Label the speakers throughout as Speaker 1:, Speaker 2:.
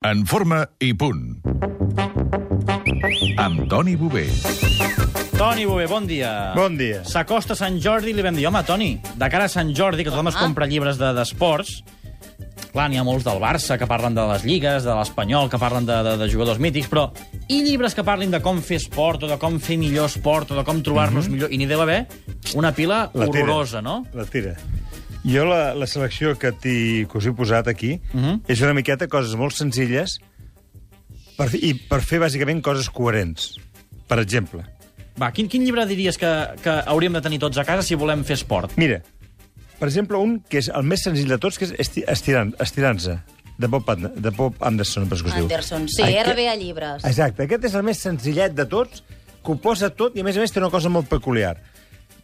Speaker 1: En forma i punt. Amb Toni Bové.
Speaker 2: Toni Bové, bon dia.
Speaker 3: Bon dia.
Speaker 2: S'acosta Sant Jordi i li vam dir, home, Toni, de cara a Sant Jordi, que tothom es compra llibres de- d'esports, clar, n'hi ha molts del Barça que parlen de les lligues, de l'Espanyol, que parlen de, de, de jugadors mítics, però i llibres que parlin de com fer esport, o de com fer millor esport, o de com trobar-nos mm -hmm. millor, i n'hi deu haver una pila
Speaker 3: Mhm. La tira.
Speaker 2: horrorosa, no?
Speaker 3: La tira. Jo la, la selecció que, t'hi- que us he posat aquí uh
Speaker 2: Mhm.
Speaker 3: -huh. és una miqueta coses molt senzilles per, fer- i per fer, bàsicament, coses coherents. Per exemple,
Speaker 2: Va, quin, quin llibre diries que, que hauríem de tenir tots a casa si volem fer esport?
Speaker 3: mira, per exemple, un que és el més senzill de tots, que és esti- estirant- Estirant-se, de Bob, Patna- de Bob Anderson, per es diu.
Speaker 4: Anderson, sí,
Speaker 3: Aquest-
Speaker 4: RBA Llibres.
Speaker 3: Exacte, aquest és el més senzillet de tots, que ho posa tot i, a més a més, té una cosa molt peculiar.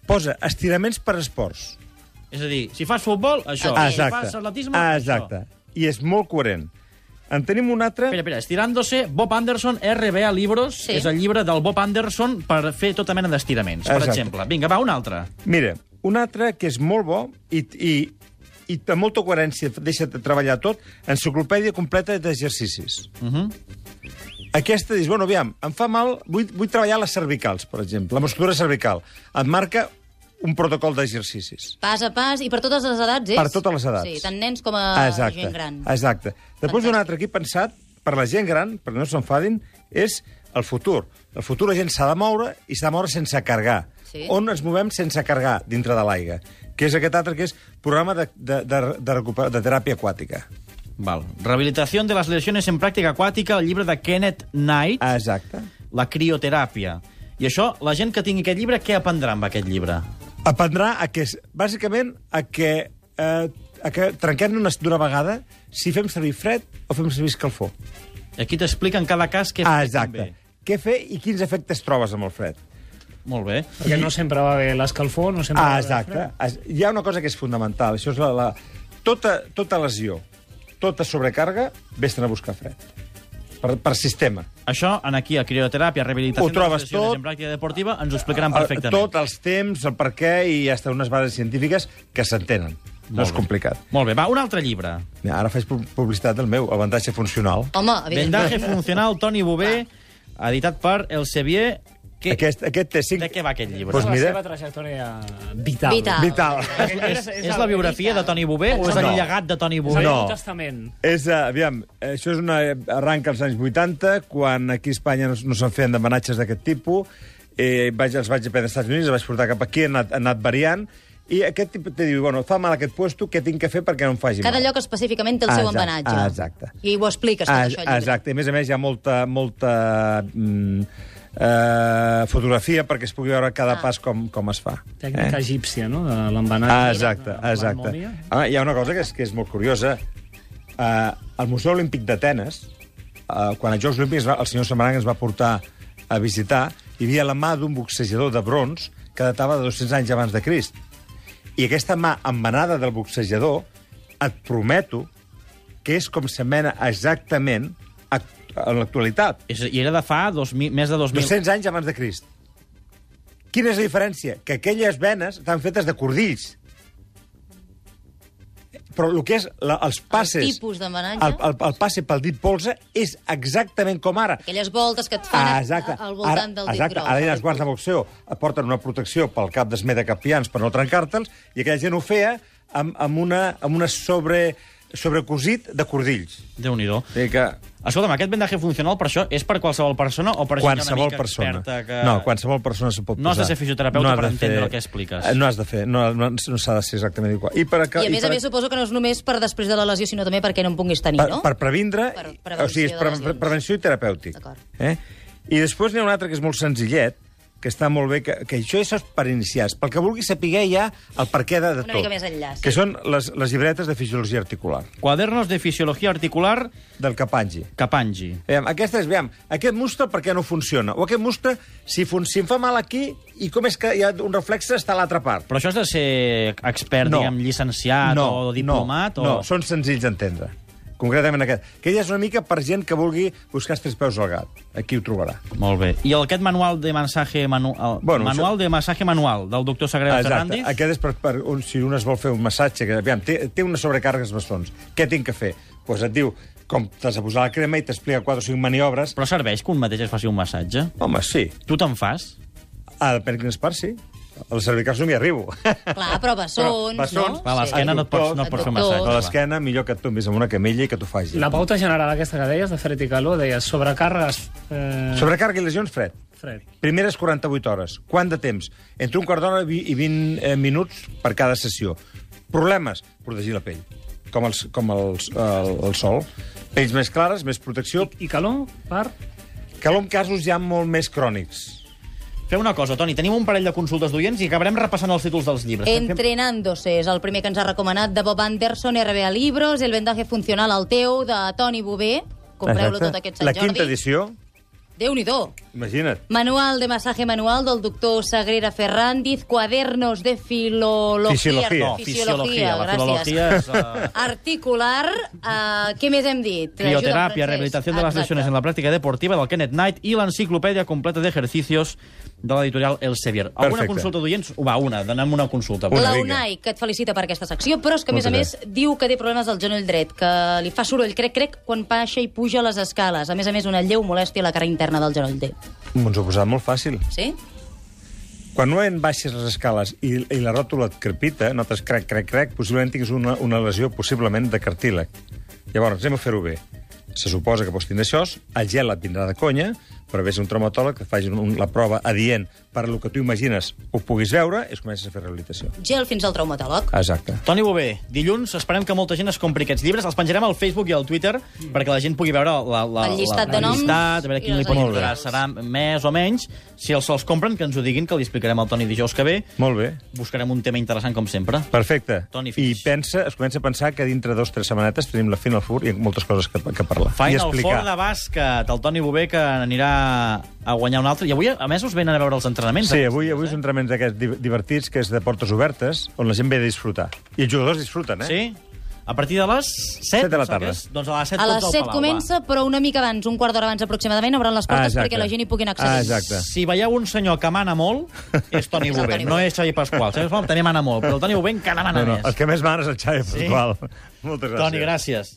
Speaker 3: Posa estiraments per esports.
Speaker 2: És a dir, si fas futbol, això.
Speaker 4: Ah,
Speaker 2: Si fas atletisme,
Speaker 3: Ah,
Speaker 2: això.
Speaker 3: Exacte. I és molt coherent. En tenim un altre...
Speaker 2: Espera, espera, estirándose, Bob Anderson, RBA Libros,
Speaker 4: Sí.
Speaker 2: és el llibre del Bob Anderson per fer tota mena d'estiraments, per
Speaker 3: Exacte.
Speaker 2: exemple. Vinga, va, un altre.
Speaker 3: Mira, un altre que és molt bo i, i, i amb molta coherència deixa de treballar tot, enciclopèdia completa d'exercicis. Uh -huh. Aquesta dius, bueno, aviam, em fa mal, vull, vull treballar les cervicals, per exemple, la musculatura cervical. Et marca un protocol d'exercicis.
Speaker 4: Pas a pas, i per totes les edats, és?
Speaker 3: Per totes les edats.
Speaker 4: Sí, tant nens com a
Speaker 3: Exacte.
Speaker 4: gent gran.
Speaker 3: Exacte. Després
Speaker 4: Fantàstic.
Speaker 3: un altre aquí pensat, per la gent gran, perquè no s'enfadin, és el futur. El futur la gent s'ha de moure i s'ha de moure sense cargar.
Speaker 4: Sí.
Speaker 3: On ens movem sense cargar dintre de l'aigua? Que és aquest altre que és programa de, de, de, de, recuper... de teràpia aquàtica.
Speaker 2: Val. Rehabilitación de las lesiones en pràctica aquàtica, el llibre de Kenneth Knight, ah.
Speaker 3: Exacte.
Speaker 2: La crioteràpia. I això, la gent que tingui aquest llibre, què aprendrà amb aquest llibre?
Speaker 3: Aprendrà a que, és- bàsicament, a que, eh, a que trenquem-nos d'una vegada si fem servir fred o fem servir escalfor.
Speaker 2: I Aquí t'explica en cada cas què
Speaker 3: Ah,
Speaker 2: fer,
Speaker 3: exacte. Què fer i quins efectes trobes amb el fred.
Speaker 2: també. Molt bé.
Speaker 5: Perquè no sempre va bé l'escalfor, no sempre
Speaker 3: Ah,
Speaker 5: va bé la
Speaker 3: exacte. Es- Hi ha una cosa que és fonamental. Això és la, la... Tota, tota lesió, tota sobrecàrrega, vés-te'n a buscar fred. Per, per sistema.
Speaker 2: Això, en aquí, a crioteràpia, rehabilitació
Speaker 3: Ho trobes
Speaker 2: de les lesiones
Speaker 3: tot. Ah,
Speaker 2: en pràctica deportiva, ens ho explicaran perfectament.
Speaker 3: Tots els temps, el per què i hasta unes bases científiques que s'entenen. No és complicat.
Speaker 2: Molt bé, va, un altre llibre.
Speaker 3: Mira, Ara faig pu- publicitat del meu, avantatge funcional.
Speaker 4: Home,
Speaker 2: Vendaje
Speaker 4: evidentment.
Speaker 2: funcional, Toni Bové, editat per Elsevier. Que...
Speaker 3: Aquest, aquest té cinc...
Speaker 2: De què va aquest llibre?
Speaker 3: Doncs
Speaker 5: Pues mira... Tota La
Speaker 3: mira,
Speaker 5: seva Ah, trajectòria vital.
Speaker 4: Vital.
Speaker 3: vital.
Speaker 5: Aquest llibre
Speaker 2: És, és la biografia de Toni Bové o és el
Speaker 3: No.
Speaker 2: llegat de Toni
Speaker 5: És
Speaker 2: Bové?
Speaker 5: el
Speaker 3: No.
Speaker 5: no. testament.
Speaker 3: És, eh, aviam, eh, això és una... Arranca als anys 80, quan aquí a Espanya no, no se'n feien d'homenatges d'aquest tipus. Eh, vaig, els vaig aprendre als Estats Units, els vaig portar cap aquí, he anat, he anat variant. I aquest tipus te diu, bueno, fa mal aquest puesto, què tinc que fer perquè no em faci
Speaker 4: Cada
Speaker 3: mal?
Speaker 4: lloc específificament té el seu
Speaker 3: Exacte,
Speaker 4: embenatge.
Speaker 3: exacte.
Speaker 4: I ho expliques, tot això, al llibre.
Speaker 3: Exacte, i a més a més hi ha molta, molta mm, eh, fotografia perquè es pugui veure cada
Speaker 4: Ah.
Speaker 3: ah. pas com, com es fa. eh?
Speaker 5: Tècnica egípcia, no? De l'embenatge.
Speaker 3: Ah, exacte,
Speaker 5: de
Speaker 3: exacte.
Speaker 5: l'harmonia.
Speaker 3: Ah, hi ha una cosa que és, que és molt curiosa. Uh, al Museu Olímpic d'Atenes, uh, quan als Jocs Olímpics va- el senyor Samarang ens va portar a visitar, hi havia la mà d'un boxejador de brons que datava de 200 anys abans de Crist. I aquesta mà embenada del boxejador, et prometo que és com s'emmena exactament act- en l'actualitat.
Speaker 2: És, I era de fa 2000, més de 2000...
Speaker 3: 200 anys abans de Crist. Quina és la diferència? Que aquelles venes estan fetes de cordills. Però el que és la, els passes...
Speaker 4: tipus d'embenatge.
Speaker 3: El, el, el passe pel dit polze és exactament com ara.
Speaker 4: Aquelles voltes que et fan
Speaker 3: Ah,
Speaker 4: a-
Speaker 3: exacte.
Speaker 4: al voltant
Speaker 3: ara,
Speaker 4: del dit
Speaker 3: exacte.
Speaker 4: gros. eh?
Speaker 3: Ara hi ha els guards de boxeo et porten una protecció pel cap d'esmer de capians per no trencar-te'ls, i aquella gent ho feia amb, amb una, amb una sobre, sobrecosit de cordills.
Speaker 2: Déu-n'hi-do.
Speaker 3: O sigui que...
Speaker 2: Escolta'm, aquest vendaje funcional per això és per qualsevol persona o per gent una
Speaker 3: qualsevol
Speaker 2: mica
Speaker 3: persona.
Speaker 2: experta que...
Speaker 3: No, qualsevol persona se pot
Speaker 2: No has de
Speaker 3: posar.
Speaker 2: ser fisioterapeuta
Speaker 3: has
Speaker 2: per
Speaker 3: de
Speaker 2: entendre el que expliques.
Speaker 3: Eh, No has de fer, no, no, no s'ha de ser exactament igual. I, per,
Speaker 4: I a més
Speaker 3: per,
Speaker 4: a més suposo que no és només per després de la lesió, sinó també perquè no en puguis tenir,
Speaker 3: per,
Speaker 4: no?
Speaker 3: per previndre,
Speaker 4: Per prevenció
Speaker 3: o sigui, és
Speaker 4: de
Speaker 3: pre,
Speaker 4: lesions.
Speaker 3: prevenció i terapèutic.
Speaker 4: D'acord.
Speaker 3: Eh? I després n'hi ha un altre que és molt senzillet, que està molt bé, que, que això, això és per iniciats, pel que vulgui saber ja el per què de, de
Speaker 4: Una
Speaker 3: tot.
Speaker 4: mica més enllà, sí.
Speaker 3: Que són les, les llibretes de fisiologia articular,
Speaker 2: Quadernos de fisiologia articular
Speaker 3: del Capangi.
Speaker 2: Capangi.
Speaker 3: Aviam, aquesta és, aviam, aquest muscle per què no funciona? O aquest muscle, si, fun, si em fa mal aquí, i com és que hi ha un reflex està a l'altra part?
Speaker 2: Però això has de ser expert, diguem, llicenciat o diplomat?
Speaker 3: no, No,
Speaker 2: o...
Speaker 3: són senzills d'entendre. Concretament aquest. Que ja és una mica per gent que vulgui buscar els tres peus al gat. Aquí ho trobarà.
Speaker 2: Molt bé. I el- aquest manual de massaje manu... el
Speaker 3: Bueno,
Speaker 2: manual de massaje manual del doctor Sagrada Fernández...
Speaker 3: Aquest és per, per un, si un es vol fer un massatge, que aviam, té, té unes sobrecàrregues bastons. Què tinc que fer? Doncs pues et diu com t'has de posar la crema i t'explica 4 o 5 maniobres.
Speaker 2: Però serveix que un mateix es faci un massatge?
Speaker 3: Home, sí.
Speaker 2: Tu te'n fas?
Speaker 3: A la Perkins Park, sí. Al cervical no m'hi arribo.
Speaker 4: Clar, però bessons,
Speaker 3: bessons,
Speaker 4: no?
Speaker 2: Clar, a l'esquena no et pots, no et pots fer un massatge.
Speaker 3: A l'esquena, millor que et tombis amb una camella i que t'ho faci.
Speaker 5: La pauta general aquesta que deies, de Fred i Calor, deies sobrecàrregues... Eh,
Speaker 3: Sobrecarga i lesions, fred.
Speaker 5: Fred.
Speaker 3: Primeres 48 hores. Quant de temps? Entre un quart d'hora i vi- i 20 eh, minuts per cada sessió. Problemes? Protegir la pell. Com, els, com els, el, el sol. Pells més clares, més protecció.
Speaker 5: I calor per...
Speaker 3: Calor en casos ja molt més crònics.
Speaker 2: Fem una cosa, Toni, tenim un parell de consultes d'oients i acabarem repassant els títols dels llibres.
Speaker 4: Entrenándose és el primer que ens ha recomanat de Bob Anderson, RBA Libros, El vendaje funcional al teu, de Toni Bové. Compreu-lo tot aquest Sant
Speaker 3: La
Speaker 4: Jordi.
Speaker 3: quinta edició,
Speaker 4: Déu-n'hi-do.
Speaker 3: imagina't.
Speaker 4: Manual de masaje manual del doctor Sagrera Ferrandiz, Cuadernos de filología.
Speaker 3: Fisiología.
Speaker 2: No, fisiologia, la
Speaker 4: gràcies.
Speaker 2: filologia és... Uh...
Speaker 4: Articular, uh, què més hem dit?
Speaker 2: Crioterapia, rehabilitació de les lesiones en la pràctica deportiva del Kenneth Knight i l'enciclopèdia completa d'exercicios de l'editorial Elsevier. Alguna
Speaker 3: Perfecte.
Speaker 2: consulta d'oients? Va, una, donem una consulta.
Speaker 3: Una,
Speaker 4: La
Speaker 3: vinga.
Speaker 4: UNAI, que et felicita per aquesta secció, però és que, a més a
Speaker 3: Moltes
Speaker 4: més, diu que té problemes al genoll dret, que li fa soroll, crec, crec, quan baixa i puja les escales. A més a més, una lleu molèstia a la cara interna del genoll dret.
Speaker 3: Ens ho ha posat molt fàcil.
Speaker 4: Sí?
Speaker 3: Quan no en baixes les escales i, i la ròtula et crepita, eh, notes crec, crec, crec, possiblement tinguis una, una lesió possiblement de cartílag. Llavors, anem a fer-ho bé. Se suposa que pots tenir això, el gel et vindrà de conya, però vés a un traumatòleg que et faci un, la prova adient per lo que tu imagines ho puguis veure i es comences a fer rehabilitació.
Speaker 4: Gel fins al traumatòleg.
Speaker 3: Exacte.
Speaker 2: Toni Bové, dilluns esperem que molta gent es compri aquests llibres. Els penjarem al Facebook i al Twitter perquè la gent pugui veure la, la,
Speaker 4: El llistat
Speaker 2: la,
Speaker 4: de
Speaker 2: la
Speaker 4: noms
Speaker 2: llistat, a veure
Speaker 4: i
Speaker 2: quin li
Speaker 4: les
Speaker 2: pot
Speaker 4: ajudes.
Speaker 2: entrar. Serà més o menys. Si els se'ls compren, que ens ho diguin, que li explicarem al Toni dijous que ve.
Speaker 3: Molt bé.
Speaker 2: Buscarem un tema interessant, com sempre.
Speaker 3: Perfecte.
Speaker 2: Toni,
Speaker 3: I
Speaker 2: fins.
Speaker 3: pensa, es comença a pensar que dintre dos o tres setmanetes tenim la Final Four i moltes coses que, que parlar. I
Speaker 2: Final
Speaker 3: explicar.
Speaker 2: Four de bàsquet, el Toni Bové que anirà a guanyar un altre. I avui, a més, us venen a veure els entrenaments.
Speaker 3: Doncs Sí, avui, avui són tremends aquests di- divertits, que és de portes obertes, on la gent ve a disfrutar. I els jugadors disfruten, eh?
Speaker 2: Sí? A partir de les 7,
Speaker 3: Set de la tarda.
Speaker 2: Doncs a les 7
Speaker 4: A les 7 comença, però una mica abans, un quart d'hora abans aproximadament, obran les portes
Speaker 3: Ah, exacte.
Speaker 4: perquè la gent hi puguin
Speaker 3: Ah,
Speaker 4: accedir.
Speaker 3: exacte.
Speaker 2: Si veieu un senyor que mana molt, és Toni
Speaker 4: És el
Speaker 2: Bové,
Speaker 4: Toni
Speaker 2: no
Speaker 4: Bové.
Speaker 2: és Xavi Pasqual. Xavi Pasqual també mana molt, però el Toni Bové encara mana
Speaker 3: No, no,
Speaker 2: més.
Speaker 3: el que més m'agrada és el Xavi Pasqual. Moltes gràcies.
Speaker 2: Toni, gràcies.